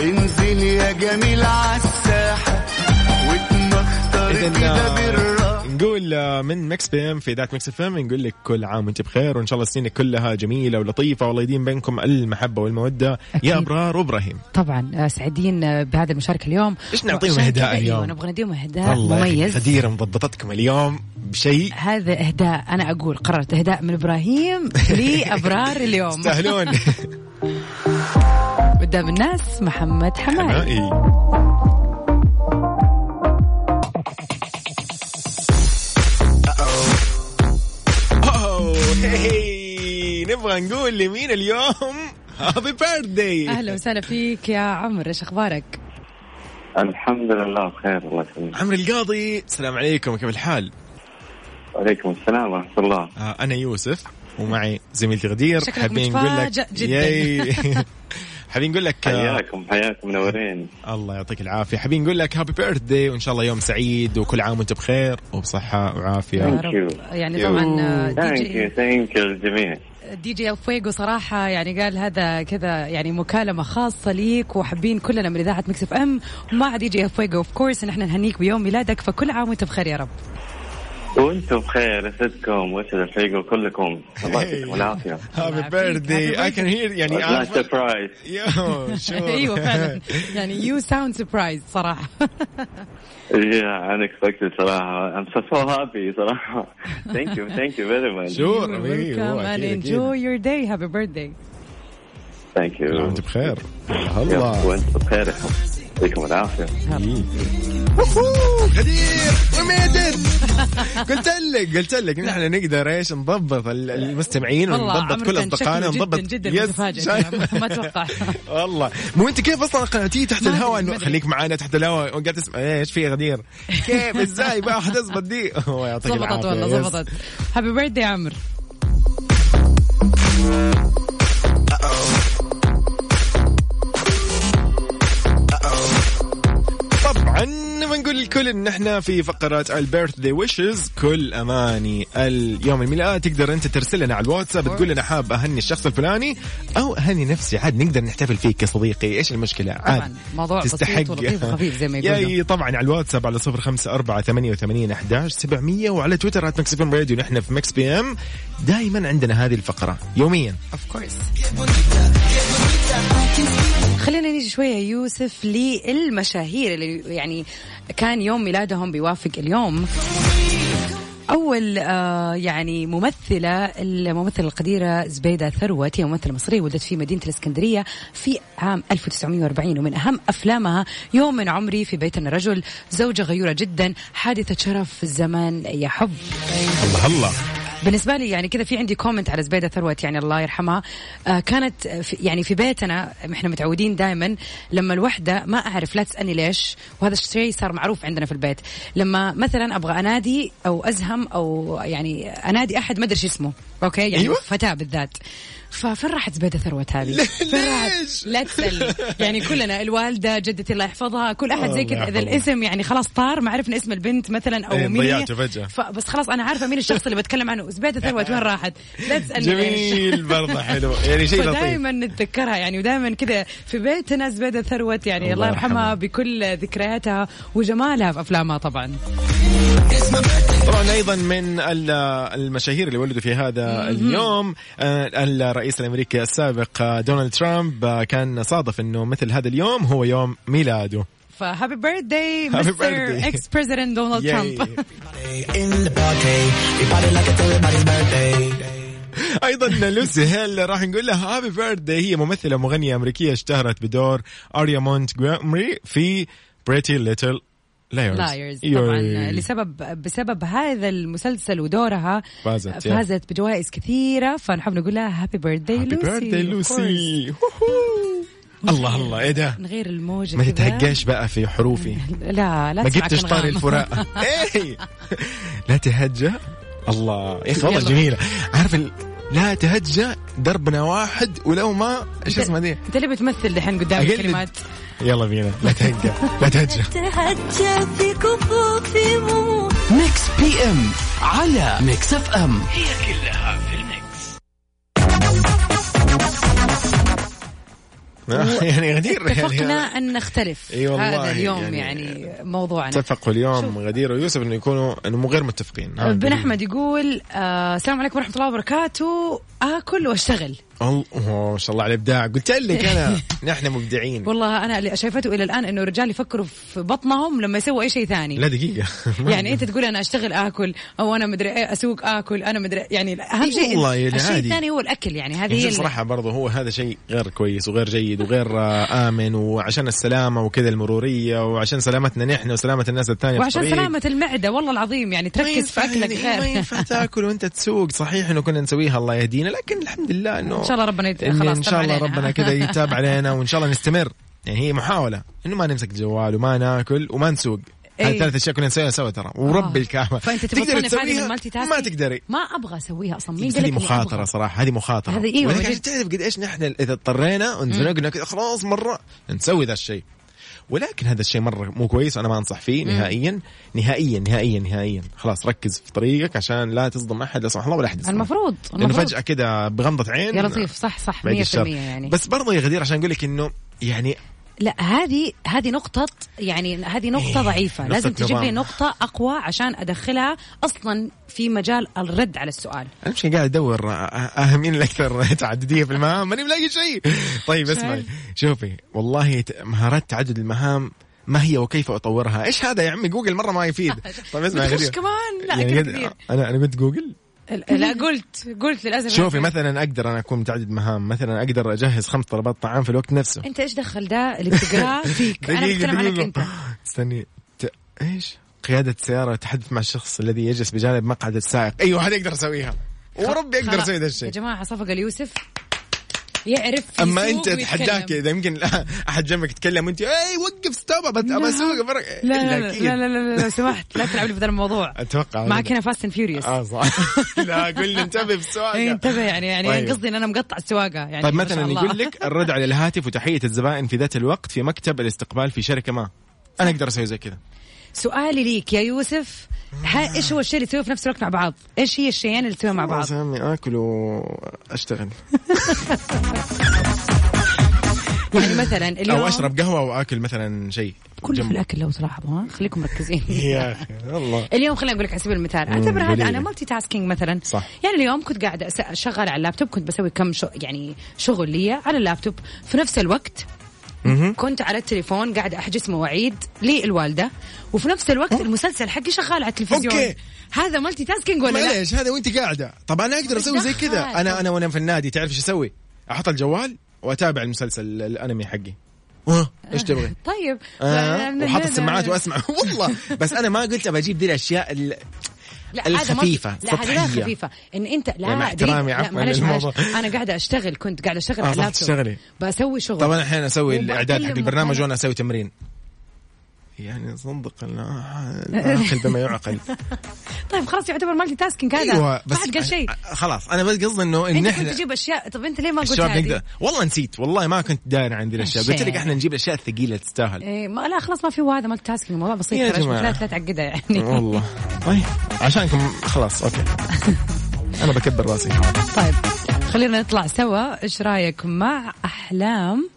[SPEAKER 9] انزل يا جميل عالساحة واتمخطر كده بالراحة
[SPEAKER 1] إذن نقول آه، من مكس بي ام في ذات مكس بي ام نقول لك كل عام وانت بخير وان شاء الله سنينك كلها جميله ولطيفه والله يديم بينكم المحبه والموده
[SPEAKER 2] أكيد.
[SPEAKER 1] يا ابرار وابراهيم
[SPEAKER 2] طبعا آه، سعيدين آه، بهذه المشاركه اليوم
[SPEAKER 1] إيش نعطيهم
[SPEAKER 2] وعشان
[SPEAKER 1] إهداء
[SPEAKER 2] كذا-
[SPEAKER 1] اليوم؟
[SPEAKER 2] ايوه نبغى نديهم اهداء
[SPEAKER 1] والله يا أخي،
[SPEAKER 2] مميز
[SPEAKER 1] غديره مضبطتكم اليوم بشيء
[SPEAKER 2] هذا اهداء انا اقول قررت اهداء من ابراهيم لابرار اليوم
[SPEAKER 1] تستاهلون
[SPEAKER 2] قدام الناس محمد حماي
[SPEAKER 1] حمائي أوه، هي. نبغى نقول لمين اليوم هابي بيرثداي
[SPEAKER 2] اهلا وسهلا فيك يا عمر ايش اخبارك؟
[SPEAKER 10] الحمد لله بخير الله يسلمك
[SPEAKER 1] عمرو القاضي السلام عليكم كيف الحال
[SPEAKER 10] وعليكم السلام ورحمه الله
[SPEAKER 1] آه، انا يوسف ومعي زميلتي غدير
[SPEAKER 2] شكلك
[SPEAKER 1] حابين نقول
[SPEAKER 2] متفاجأ
[SPEAKER 1] لك
[SPEAKER 2] جداً.
[SPEAKER 1] ياي. حابين نقول لك آه،
[SPEAKER 10] حياكم حياكم منورين
[SPEAKER 1] الله يعطيك العافيه حابين نقول لك هابي بيرثداي وان شاء الله يوم سعيد وكل عام وانت بخير وبصحه وعافيه
[SPEAKER 10] Thank you.
[SPEAKER 2] يعني طبعا آه، دي
[SPEAKER 10] ثانك يو
[SPEAKER 2] جي
[SPEAKER 10] ثانك يو الجميع
[SPEAKER 2] دي جي الفويجو صراحه يعني قال هذا كذا يعني مكالمه خاصه ليك وحابين كلنا من اذاعه مكس اف ام مع دي جي الفويجو اوف كورس نحن نهنيك بيوم ميلادك فكل عام وانت بخير يا رب
[SPEAKER 10] وانتم بخير اسعدكم واسعد الفريق كلكم الله يعطيكم العافيه
[SPEAKER 1] هابي
[SPEAKER 2] الله يعافيك. Happy
[SPEAKER 1] بيرثداي اي كان هير يعني oh,
[SPEAKER 10] لا
[SPEAKER 1] عارف-
[SPEAKER 10] سربرايز
[SPEAKER 1] يو شور
[SPEAKER 2] ايوه فعلا يعني يو ساوند سربرايز صراحه
[SPEAKER 10] يا ان اكسبكتد صراحه ام سو هابي صراحه ثانك يو ثانك يو فيري ماتش
[SPEAKER 1] شور
[SPEAKER 2] ويلكم اند انجوي يور داي هابي بيرثداي
[SPEAKER 10] Hmm. ثانك يو
[SPEAKER 1] انت بخير الله
[SPEAKER 10] وانتم بخير يعطيكم العافيه
[SPEAKER 1] غدير وميدن قلت لك قلت لك نحن نقدر ايش نضبط ال- المستمعين
[SPEAKER 2] والله
[SPEAKER 1] ونضبط
[SPEAKER 2] عمرو
[SPEAKER 1] كل
[SPEAKER 2] كان
[SPEAKER 1] اصدقائنا
[SPEAKER 2] شكله
[SPEAKER 1] ونضبط
[SPEAKER 2] جدا جدا
[SPEAKER 1] يس،
[SPEAKER 2] متفاجئ
[SPEAKER 1] شايف؟
[SPEAKER 2] كده، ما توقع.
[SPEAKER 1] والله مو انت كيف اصلا قناتي تحت
[SPEAKER 2] ما أدري،
[SPEAKER 1] الهواء
[SPEAKER 2] ما
[SPEAKER 1] انه
[SPEAKER 2] أدري.
[SPEAKER 1] خليك معانا تحت الهواء وقاعد تسمع ايش في يا غدير كيف ازاي بقى حتزبط دي الله يعطيك
[SPEAKER 10] طيب
[SPEAKER 2] زبطت
[SPEAKER 1] العافية،
[SPEAKER 2] والله
[SPEAKER 1] يس.
[SPEAKER 2] زبطت هابي بيرثداي عمرو
[SPEAKER 1] طبعا نبغى نقول لكل ان احنا في فقره البيرث داي ويشز كل اماني اليوم الميلاد تقدر انت ترسل لنا على الواتساب تقول لنا حاب اهني الشخص الفلاني او اهني نفسي عاد نقدر نحتفل فيك يا صديقي ايش المشكله عاد
[SPEAKER 2] طبعاً، موضوع بسيط ولطيف وخفيف زي ما يقولوا.
[SPEAKER 1] ياي طبعا على الواتساب على 0548811700 وعلى تويتر هات مكس بي راديو نحن في مكس بي ام دائما عندنا هذه الفقره يوميا
[SPEAKER 2] اوف كورس خلينا نيجي شويه يا يوسف للمشاهير اللي يعني كان يوم ميلادهم بيوافق اليوم أول آه يعني ممثلة الممثلة القديرة زبيدة ثروت هي ممثلة مصرية ولدت في مدينة الإسكندرية في عام 1940 ومن أهم أفلامها يوم من عمري في بيتنا رجل زوجة غيورة جدا حادثة شرف الزمان يا حب
[SPEAKER 1] الله الله
[SPEAKER 2] بالنسبه لي يعني كذا في عندي كومنت على زبيده ثروت يعني الله يرحمها آه كانت في يعني في بيتنا احنا متعودين دائما لما الوحده ما اعرف لا تسالني ليش وهذا الشيء صار معروف عندنا في البيت لما مثلا ابغى انادي او ازهم او يعني انادي احد ما ادري شو اسمه اوكي يعني
[SPEAKER 1] أيوة.
[SPEAKER 2] فتاه بالذات ففرحت زبيده ثروت هذه فرحت لا تسالني يعني كلنا الوالده جدتي الله يحفظها كل احد
[SPEAKER 1] آه،
[SPEAKER 2] زي
[SPEAKER 1] الله
[SPEAKER 2] كذا اذا
[SPEAKER 1] يحفظها.
[SPEAKER 2] الاسم يعني خلاص طار ما عرفنا اسم البنت مثلا او
[SPEAKER 1] إيه،
[SPEAKER 2] مين هي.
[SPEAKER 1] ضيعته فجأة.
[SPEAKER 2] ف... بس خلاص انا عارفه مين الشخص اللي بتكلم عنه زبيده ثروت وين راحت لا تسالني
[SPEAKER 1] جميل برضه حلو يعني شيء لطيف
[SPEAKER 2] دائما نتذكرها يعني ودائما كذا في بيتنا زبيده ثروت يعني الله
[SPEAKER 1] الله
[SPEAKER 2] يرحمها
[SPEAKER 1] يرحمها.
[SPEAKER 2] بكل ذكرياتها وجمالها في افلامها طبعا
[SPEAKER 1] طبعا ايضا من ال- المشاهير اللي ولدوا في هذا اليوم آه، الرئيس الامريكي السابق آه، دونالد ترامب آه، كان صادف انه مثل هذا اليوم هو يوم ميلاده
[SPEAKER 2] فهابي بيرثداي
[SPEAKER 1] Happy
[SPEAKER 2] مستر
[SPEAKER 1] birthday.
[SPEAKER 2] اكس بريزيدنت دونالد
[SPEAKER 1] Yay.
[SPEAKER 2] ترامب
[SPEAKER 1] ايضا لوسي هيل راح نقول لها هابي بيرثداي هي ممثله مغنيه امريكيه اشتهرت بدور اريا مونتجومري في بريتي ليتل
[SPEAKER 2] لايرز
[SPEAKER 1] لايرز
[SPEAKER 2] طبعا لسبب بسبب هذا المسلسل ودورها
[SPEAKER 1] فازت، يا.
[SPEAKER 2] فازت بجوائز كثيره فنحب نقول لها هابي بيرثداي
[SPEAKER 1] هابي
[SPEAKER 2] لوسي
[SPEAKER 1] بيرثداي
[SPEAKER 2] of course. إيه
[SPEAKER 1] لوسي هوهو. الله الله ايه ده
[SPEAKER 2] نغير الموجة
[SPEAKER 1] ما
[SPEAKER 2] كذا.
[SPEAKER 1] تتهجاش بقى في حروفي
[SPEAKER 2] لا لا
[SPEAKER 1] ما
[SPEAKER 2] تسمع
[SPEAKER 1] جبتش طاري
[SPEAKER 2] كنغام.
[SPEAKER 1] الفراق ايه لا تهجى الله يا اخي والله
[SPEAKER 2] يلا.
[SPEAKER 1] جميله عارف ال... لا تهجى دربنا واحد ولو ما ايش اسمها دي
[SPEAKER 2] انت ليه بتمثل دحين قدام
[SPEAKER 1] أقلد.
[SPEAKER 2] الكلمات
[SPEAKER 1] يلا بينا لا تهجى لا تهجى
[SPEAKER 5] تهجى في كفوفي مو
[SPEAKER 3] ميكس بي ام على ميكس اف ام
[SPEAKER 1] يعني غدير
[SPEAKER 2] اتفقنا
[SPEAKER 1] يعني
[SPEAKER 2] ان نختلف
[SPEAKER 1] إي والله
[SPEAKER 2] هذا اليوم يعني,
[SPEAKER 1] يعني-
[SPEAKER 2] موضوعنا
[SPEAKER 1] اتفقوا اليوم غدير ويوسف انه يكونوا انه مو غير متفقين ها،
[SPEAKER 2] آه، بن
[SPEAKER 1] قولي.
[SPEAKER 2] احمد يقول آه، السلام عليكم ورحمه الله وبركاته اكل واشتغل
[SPEAKER 1] الله أوه، ما شاء الله على الابداع قلت لك انا نحن مبدعين
[SPEAKER 2] والله انا اللي شايفته الى الان انه الرجال يفكروا في بطنهم لما يسووا اي شيء ثاني
[SPEAKER 1] لا دقيقه
[SPEAKER 2] يعني انت تقول انا اشتغل اكل او انا مدري إيه اسوق اكل انا مدري يعني اهم
[SPEAKER 1] إي
[SPEAKER 2] شيء
[SPEAKER 1] والله يعني
[SPEAKER 2] الشيء
[SPEAKER 1] عادي.
[SPEAKER 2] الثاني هو الاكل يعني هذه
[SPEAKER 1] يعني
[SPEAKER 2] هي
[SPEAKER 1] شوف صراحة برضه هو هذا شيء غير كويس وغير جيد وغير آه، آمن وعشان السلامة وكذا المرورية وعشان سلامتنا نحن وسلامة الناس الثانية في
[SPEAKER 2] وعشان
[SPEAKER 1] الطريق.
[SPEAKER 2] سلامة المعدة والله العظيم يعني
[SPEAKER 1] ما
[SPEAKER 2] تركز في
[SPEAKER 1] ينفع
[SPEAKER 2] أكلك
[SPEAKER 1] يعني ما
[SPEAKER 2] غير
[SPEAKER 1] ينفع تاكل وانت تسوق صحيح انه كنا نسويها الله يهدينا لكن الحمد لله انه
[SPEAKER 2] إن شاء الله ربنا يت-
[SPEAKER 1] إن-
[SPEAKER 2] خلاص
[SPEAKER 1] ان
[SPEAKER 2] تاب
[SPEAKER 1] شاء الله
[SPEAKER 2] علينا.
[SPEAKER 1] ربنا كذا يتاب علينا وان شاء الله نستمر يعني هي محاولة انه ما نمسك الجوال وما ناكل وما نسوق
[SPEAKER 2] إيه.
[SPEAKER 1] هذه ثلاث اشياء كنا نسويها سوا ترى ورب
[SPEAKER 2] آه.
[SPEAKER 1] الكعبة
[SPEAKER 2] فأنت تبغى
[SPEAKER 1] تقدري
[SPEAKER 2] تصنف هذه من
[SPEAKER 1] تسويها
[SPEAKER 2] المالتي تاسكينج؟
[SPEAKER 1] ما تقدري
[SPEAKER 2] ما أبغى أسويها أصلا مين
[SPEAKER 1] بس
[SPEAKER 2] قال لك
[SPEAKER 1] هذه
[SPEAKER 2] إني
[SPEAKER 1] مخاطره
[SPEAKER 2] أبغى؟
[SPEAKER 1] صراحه هذه مخاطره
[SPEAKER 2] هذه إيوه،
[SPEAKER 1] ولكن عشان
[SPEAKER 2] وجد.
[SPEAKER 1] تعرف قد ايش نحن اذا اضطرينا وانزنقنا كذا خلاص مره نسوي ذا الشيء ولكن هذا الشيء مره مو كويس انا ما انصح فيه نهائيا نهائيا نهائيا نهائيا خلاص ركز في طريقك عشان لا تصدم احد لا سمح الله ولا احد يصدمك.
[SPEAKER 2] المفروض
[SPEAKER 1] لانه
[SPEAKER 2] المفروض.
[SPEAKER 1] فجاه كذا بغمضه عين
[SPEAKER 2] يا لطيف صح صح 100%
[SPEAKER 1] بعيد الشر
[SPEAKER 2] يعني
[SPEAKER 1] بس برضه يا غدير عشان اقول لك انه يعني
[SPEAKER 2] لا هذه هذه نقطة يعني هذه نقطة
[SPEAKER 1] إيه،
[SPEAKER 2] ضعيفة
[SPEAKER 1] نقطة
[SPEAKER 2] لازم تجيب لي
[SPEAKER 1] نظام.
[SPEAKER 2] نقطة أقوى عشان أدخلها أصلا في مجال الرد على السؤال
[SPEAKER 1] انا مش قاعد ادور آه، مين الاكثر تعدديه في المهام ماني ملاقي شيء طيب اسمعي شوفي والله ت- مهارات تعدد المهام ما هي وكيف اطورها ايش هذا يا عمي جوجل مره ما يفيد طيب اسمعي
[SPEAKER 2] بتخش
[SPEAKER 1] غدير.
[SPEAKER 2] كمان لا
[SPEAKER 1] يعني
[SPEAKER 2] كده
[SPEAKER 1] قد-
[SPEAKER 2] كبير
[SPEAKER 1] انا انا قلت جوجل
[SPEAKER 2] لا قلت قلت للأسف
[SPEAKER 1] شوفي مثلا اقدر انا اكون متعدد مهام مثلا اقدر اجهز خمس طلبات طعام في الوقت نفسه
[SPEAKER 2] أنت إيش دخل ده اللي بتقراه فيك أنا بتكلم عنك أنت
[SPEAKER 1] استني ت- ايش قياده سياره تحدث مع الشخص الذي يجلس بجانب مقعد السائق أيوه، اي واحد يقدر يسويها وربي اقدر
[SPEAKER 2] خلاص.
[SPEAKER 1] اسوي ذا
[SPEAKER 2] يا
[SPEAKER 1] الشيء
[SPEAKER 2] جماعة صفقة ليوسف يعرف
[SPEAKER 1] اما
[SPEAKER 2] يسوق
[SPEAKER 1] انت اتحداك
[SPEAKER 2] ويتكلم.
[SPEAKER 1] اذا يمكن لا- احد جنبك يتكلم وانت اي وقف ستوب أبى- ابى اسوق برا-
[SPEAKER 2] لا
[SPEAKER 1] إلا
[SPEAKER 2] لا لا
[SPEAKER 1] أكيد.
[SPEAKER 2] لا لا لا لا لو سمحت لا تلعب لي في ذا الموضوع
[SPEAKER 1] اتوقع
[SPEAKER 2] معك هنا فاست اند فيوريوس
[SPEAKER 1] اه صح لا قول لي انتبه في السؤال
[SPEAKER 2] انتبه يعني يعني
[SPEAKER 1] طيب.
[SPEAKER 2] قصدي ان انا مقطع السواقه يعني
[SPEAKER 1] طيب
[SPEAKER 2] ما شاء
[SPEAKER 1] مثلا
[SPEAKER 2] الله.
[SPEAKER 1] يقول لك الرد على الهاتف وتحيه الزبائن في ذات الوقت في مكتب الاستقبال في شركه ما انا اقدر اسوي زي كذا
[SPEAKER 2] سؤالي ليك يا يوسف ها ايش هو الشيء اللي تسويه في نفس الوقت مع بعض؟ ايش هي الشيئين اللي تسويها مع بعض؟
[SPEAKER 1] خلاص يا عمي اكل واشتغل
[SPEAKER 2] يعني مثلا اليوم
[SPEAKER 1] او اشرب قهوه واكل مثلا شيء
[SPEAKER 2] كله في
[SPEAKER 1] جنبه.
[SPEAKER 2] الاكل لو تلاحظوا ها خليكم مركزين
[SPEAKER 1] يا اخي والله
[SPEAKER 2] اليوم خليني اقول لك على سبيل المثال اعتبر
[SPEAKER 1] قولي
[SPEAKER 2] هذا
[SPEAKER 1] لي.
[SPEAKER 2] انا مالتي تاسكينج مثلا
[SPEAKER 1] صح.
[SPEAKER 2] يعني اليوم كنت قاعده أس- شغاله على اللابتوب كنت بسوي كم شو يعني شغل لي على اللابتوب في نفس الوقت كنت على التليفون قاعدة أحجز مواعيد للوالدة وفي نفس الوقت المسلسل حقي شغال على التلفزيون
[SPEAKER 1] أوكي.
[SPEAKER 2] هذا مالتي تاسكينج ولا يعني لا؟
[SPEAKER 1] معليش هذا وانت قاعده طب انا اقدر
[SPEAKER 2] مش
[SPEAKER 1] اسوي زي
[SPEAKER 2] دخل.
[SPEAKER 1] كذا انا انا وانا في النادي تعرف ايش اسوي احط الجوال واتابع المسلسل الانمي حقي ها، ايش تبغي
[SPEAKER 2] طيب
[SPEAKER 1] آه وحاط السماعات واسمع والله بس انا ما قلت ابى اجيب دي الاشياء ال-
[SPEAKER 2] لا هذا ما-
[SPEAKER 1] الخفيفه
[SPEAKER 2] لا هذه لا
[SPEAKER 1] سطحية.
[SPEAKER 2] خفيفه ان انت لا
[SPEAKER 1] يعني مع
[SPEAKER 2] دقيقة.
[SPEAKER 1] احترامي
[SPEAKER 2] لا،
[SPEAKER 1] عفواً
[SPEAKER 2] معلش، معلش.
[SPEAKER 1] للموضوع.
[SPEAKER 2] انا قاعده اشتغل كنت قاعده اشتغل
[SPEAKER 1] آه،
[SPEAKER 2] على
[SPEAKER 1] صح،
[SPEAKER 2] اللابتوب.
[SPEAKER 1] تشتغلي.
[SPEAKER 2] بسوي شغل
[SPEAKER 1] طبعا الحين اسوي
[SPEAKER 2] وبأكلم
[SPEAKER 1] الاعداد حق البرنامج
[SPEAKER 2] مكالمة.
[SPEAKER 1] وانا اسوي تمرين يعني صندوق الع- العاقل بما يعقل
[SPEAKER 2] طيب خلاص يعتبر مالتي تاسكينج هذا
[SPEAKER 1] ايوه
[SPEAKER 2] ما حد قال شيء
[SPEAKER 1] خلاص انا بس قصدي انه ان
[SPEAKER 2] انت كنت
[SPEAKER 1] احنا
[SPEAKER 2] تجيب اشياء طب انت ليه ما قلت
[SPEAKER 1] الشباب
[SPEAKER 2] هذه؟
[SPEAKER 1] نقدر والله نسيت والله ما كنت داير عندي الاشياء قلت لك
[SPEAKER 2] الشيء.
[SPEAKER 1] احنا نجيب الاشياء الثقيله تستاهل
[SPEAKER 2] إيه ما لا خلاص ما في هو هذا مالتي تاسكينج الموضوع بسيط
[SPEAKER 1] يا
[SPEAKER 2] ترى، شوف،
[SPEAKER 1] جماعة.
[SPEAKER 2] لا لا تعقدها يعني
[SPEAKER 1] والله طيب عشانكم خلاص اوكي انا بكبر راسي
[SPEAKER 2] طيب خلينا نطلع سوا ايش رايك مع احلام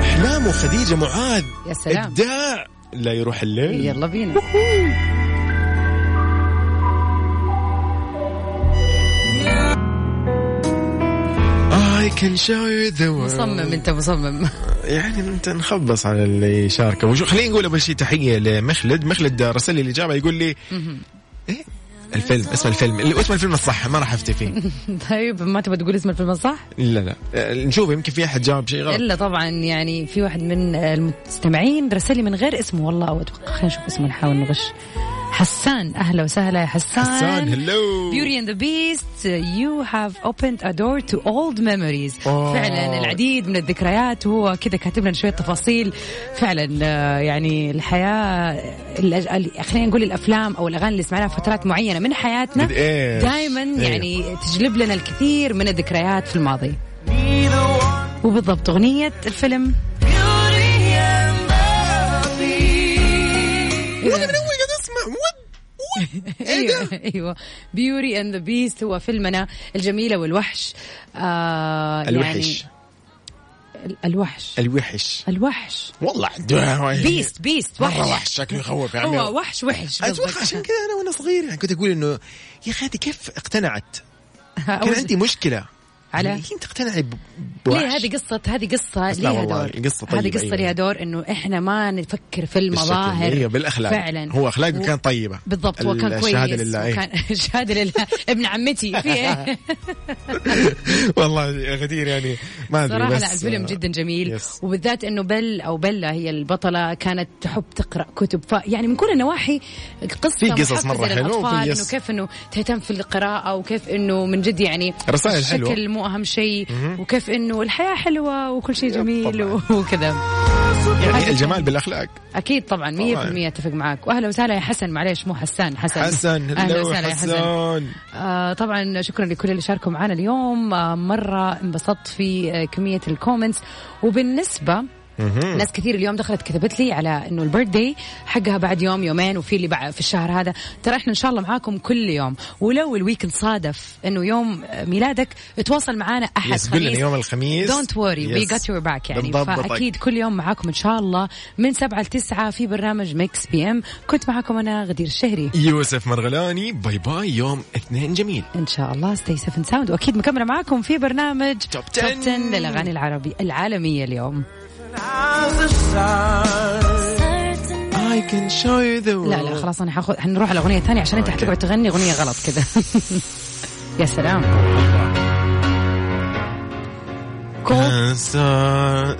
[SPEAKER 1] احلام وخديجه معاذ
[SPEAKER 2] يا سلام.
[SPEAKER 1] ابداع لا يروح الليل
[SPEAKER 2] يلا بينا
[SPEAKER 1] I can show you the world
[SPEAKER 2] مصمم انت مصمم
[SPEAKER 1] يعني انت نخبص على اللي يشاركه وشو خلينا نقول اول شيء تحيه لمخلد مخلد رسل لي الاجابه يقول لي ايه الفيلم اسم الفيلم اللي اسم الفيلم الصح ما راح افتي فيه
[SPEAKER 2] طيب ما تبغى تقول اسم الفيلم صح؟
[SPEAKER 1] لا لا آه، نشوف يمكن في احد جاوب شيء غلط
[SPEAKER 2] الا طبعا يعني في واحد من المستمعين رسل لي من غير اسمه والله واتوقع خلينا نشوف اسمه نحاول نغش حسان اهلا وسهلا يا حسان
[SPEAKER 1] حسان، hello.
[SPEAKER 2] بيوتي اند ذا بيست يو هاف اوبند ا دور تو اولد ميموريز
[SPEAKER 1] أوه.
[SPEAKER 2] فعلا العديد من الذكريات هو كذا كاتب لنا شويه تفاصيل فعلا آه، يعني الحياه الأج- ال- خلينا نقول الافلام او الاغاني اللي سمعناها في فترات معينه من حياتنا
[SPEAKER 1] قد إيش.
[SPEAKER 2] دائما
[SPEAKER 1] إيه.
[SPEAKER 2] يعني تجلب لنا الكثير من الذكريات في الماضي وبالضبط أغنية الفيلم
[SPEAKER 1] والله من اول قاعد اسمع ود
[SPEAKER 2] ايوه ايوه بيوري اند ذا بيست هو فيلمنا الجميله والوحش آه
[SPEAKER 1] الوحش
[SPEAKER 2] يعني ال- الوحش
[SPEAKER 1] الوحش
[SPEAKER 2] الوحش
[SPEAKER 1] والله عدوه.
[SPEAKER 2] بيست بيست وحش
[SPEAKER 1] مره وحش شكله يخوف يعني. يا عمي
[SPEAKER 2] هو وحش وحش
[SPEAKER 1] اتوقع عشان كذا انا وانا صغير يعني كنت اقول انه يا اخي هذه كيف اقتنعت؟ كان عندي مشكله
[SPEAKER 2] على؟
[SPEAKER 1] يعني انت اقتنعي ب- بوحش
[SPEAKER 2] ليه هذه قصة هذه قصة
[SPEAKER 1] بس لا
[SPEAKER 2] ليها
[SPEAKER 1] والله،
[SPEAKER 2] دور
[SPEAKER 1] القصة
[SPEAKER 2] هذه
[SPEAKER 1] طيبة،
[SPEAKER 2] قصة
[SPEAKER 1] أيوة.
[SPEAKER 2] ليها دور انه احنا ما نفكر في
[SPEAKER 1] بالشكل.
[SPEAKER 2] المظاهر
[SPEAKER 1] ايوه بالاخلاق
[SPEAKER 2] فعلا
[SPEAKER 1] هو اخلاقه
[SPEAKER 2] و-
[SPEAKER 1] كانت طيبه
[SPEAKER 2] بالضبط هو كان كويس
[SPEAKER 1] الشهاده لله أي.
[SPEAKER 2] وكان الشهادة لله ابن عمتي في ايه
[SPEAKER 1] والله يا غدير يعني ما ادري
[SPEAKER 2] صراحة
[SPEAKER 1] بس آه،
[SPEAKER 2] لا الفيلم جدا جميل
[SPEAKER 1] يس.
[SPEAKER 2] وبالذات انه بل او بلا هي البطلة كانت تحب تقرا كتب ف يعني من كل النواحي قصة
[SPEAKER 1] في قصص
[SPEAKER 2] محفزة
[SPEAKER 1] مرة حلوة وفي
[SPEAKER 2] للأطفال،
[SPEAKER 1] يس.
[SPEAKER 2] انه كيف انه تهتم في القراءة وكيف انه من جد يعني
[SPEAKER 1] رسائل
[SPEAKER 2] الشكل
[SPEAKER 1] حلوة.
[SPEAKER 2] مو اهم شيء
[SPEAKER 1] مهم.
[SPEAKER 2] وكيف انه الحياة حلوة وكل شيء جميل و- وكذا
[SPEAKER 1] يعني
[SPEAKER 2] هذا
[SPEAKER 1] الجمال بالاخلاق
[SPEAKER 2] اكيد طبعا 100%
[SPEAKER 1] طبعاً.
[SPEAKER 2] اتفق معاك واهلا وسهلا يا حسن معليش مو حسان حسن
[SPEAKER 1] حسن
[SPEAKER 2] اهلا
[SPEAKER 1] هلا
[SPEAKER 2] وسهلا يا حسن
[SPEAKER 1] حسن
[SPEAKER 2] آه طبعا شكرا لكل اللي شاركوا معنا اليوم آه مره انبسطت في آه كميه الكومنتس وبالنسبه
[SPEAKER 1] مهم.
[SPEAKER 2] ناس كثير اليوم دخلت كتبت لي على انه البيرث داي حقها بعد يوم يومين وفي اللي بعد في الشهر هذا ترى احنا ان شاء الله معاكم كل يوم ولو الويكند صادف انه يوم آه، ميلادك تواصل معنا احد
[SPEAKER 1] يس، قول لنا
[SPEAKER 2] خميس.
[SPEAKER 1] يوم الخميس.
[SPEAKER 2] دونت وري وي
[SPEAKER 1] يس.
[SPEAKER 2] جات يور باك يعني
[SPEAKER 1] بنضبطك.
[SPEAKER 2] فاكيد كل يوم معاكم ان شاء الله من سبعة لتسعة في برنامج ميكس بي ام كنت معاكم انا غدير الشهري
[SPEAKER 1] يوسف مرغلاني باي باي يوم اثنين جميل
[SPEAKER 2] ان شاء الله ستي سيف ساوند واكيد مكمله معاكم في برنامج توب 10, للاغاني العربي العالميه اليوم
[SPEAKER 1] I can show you the world
[SPEAKER 2] لا لا خلاص انا حاخذ حنروح على اغنيه ثانيه عشان انت
[SPEAKER 1] أوكي.
[SPEAKER 2] حتقعد تغني اغنيه غلط كذا يا سلام كولد
[SPEAKER 1] خلاص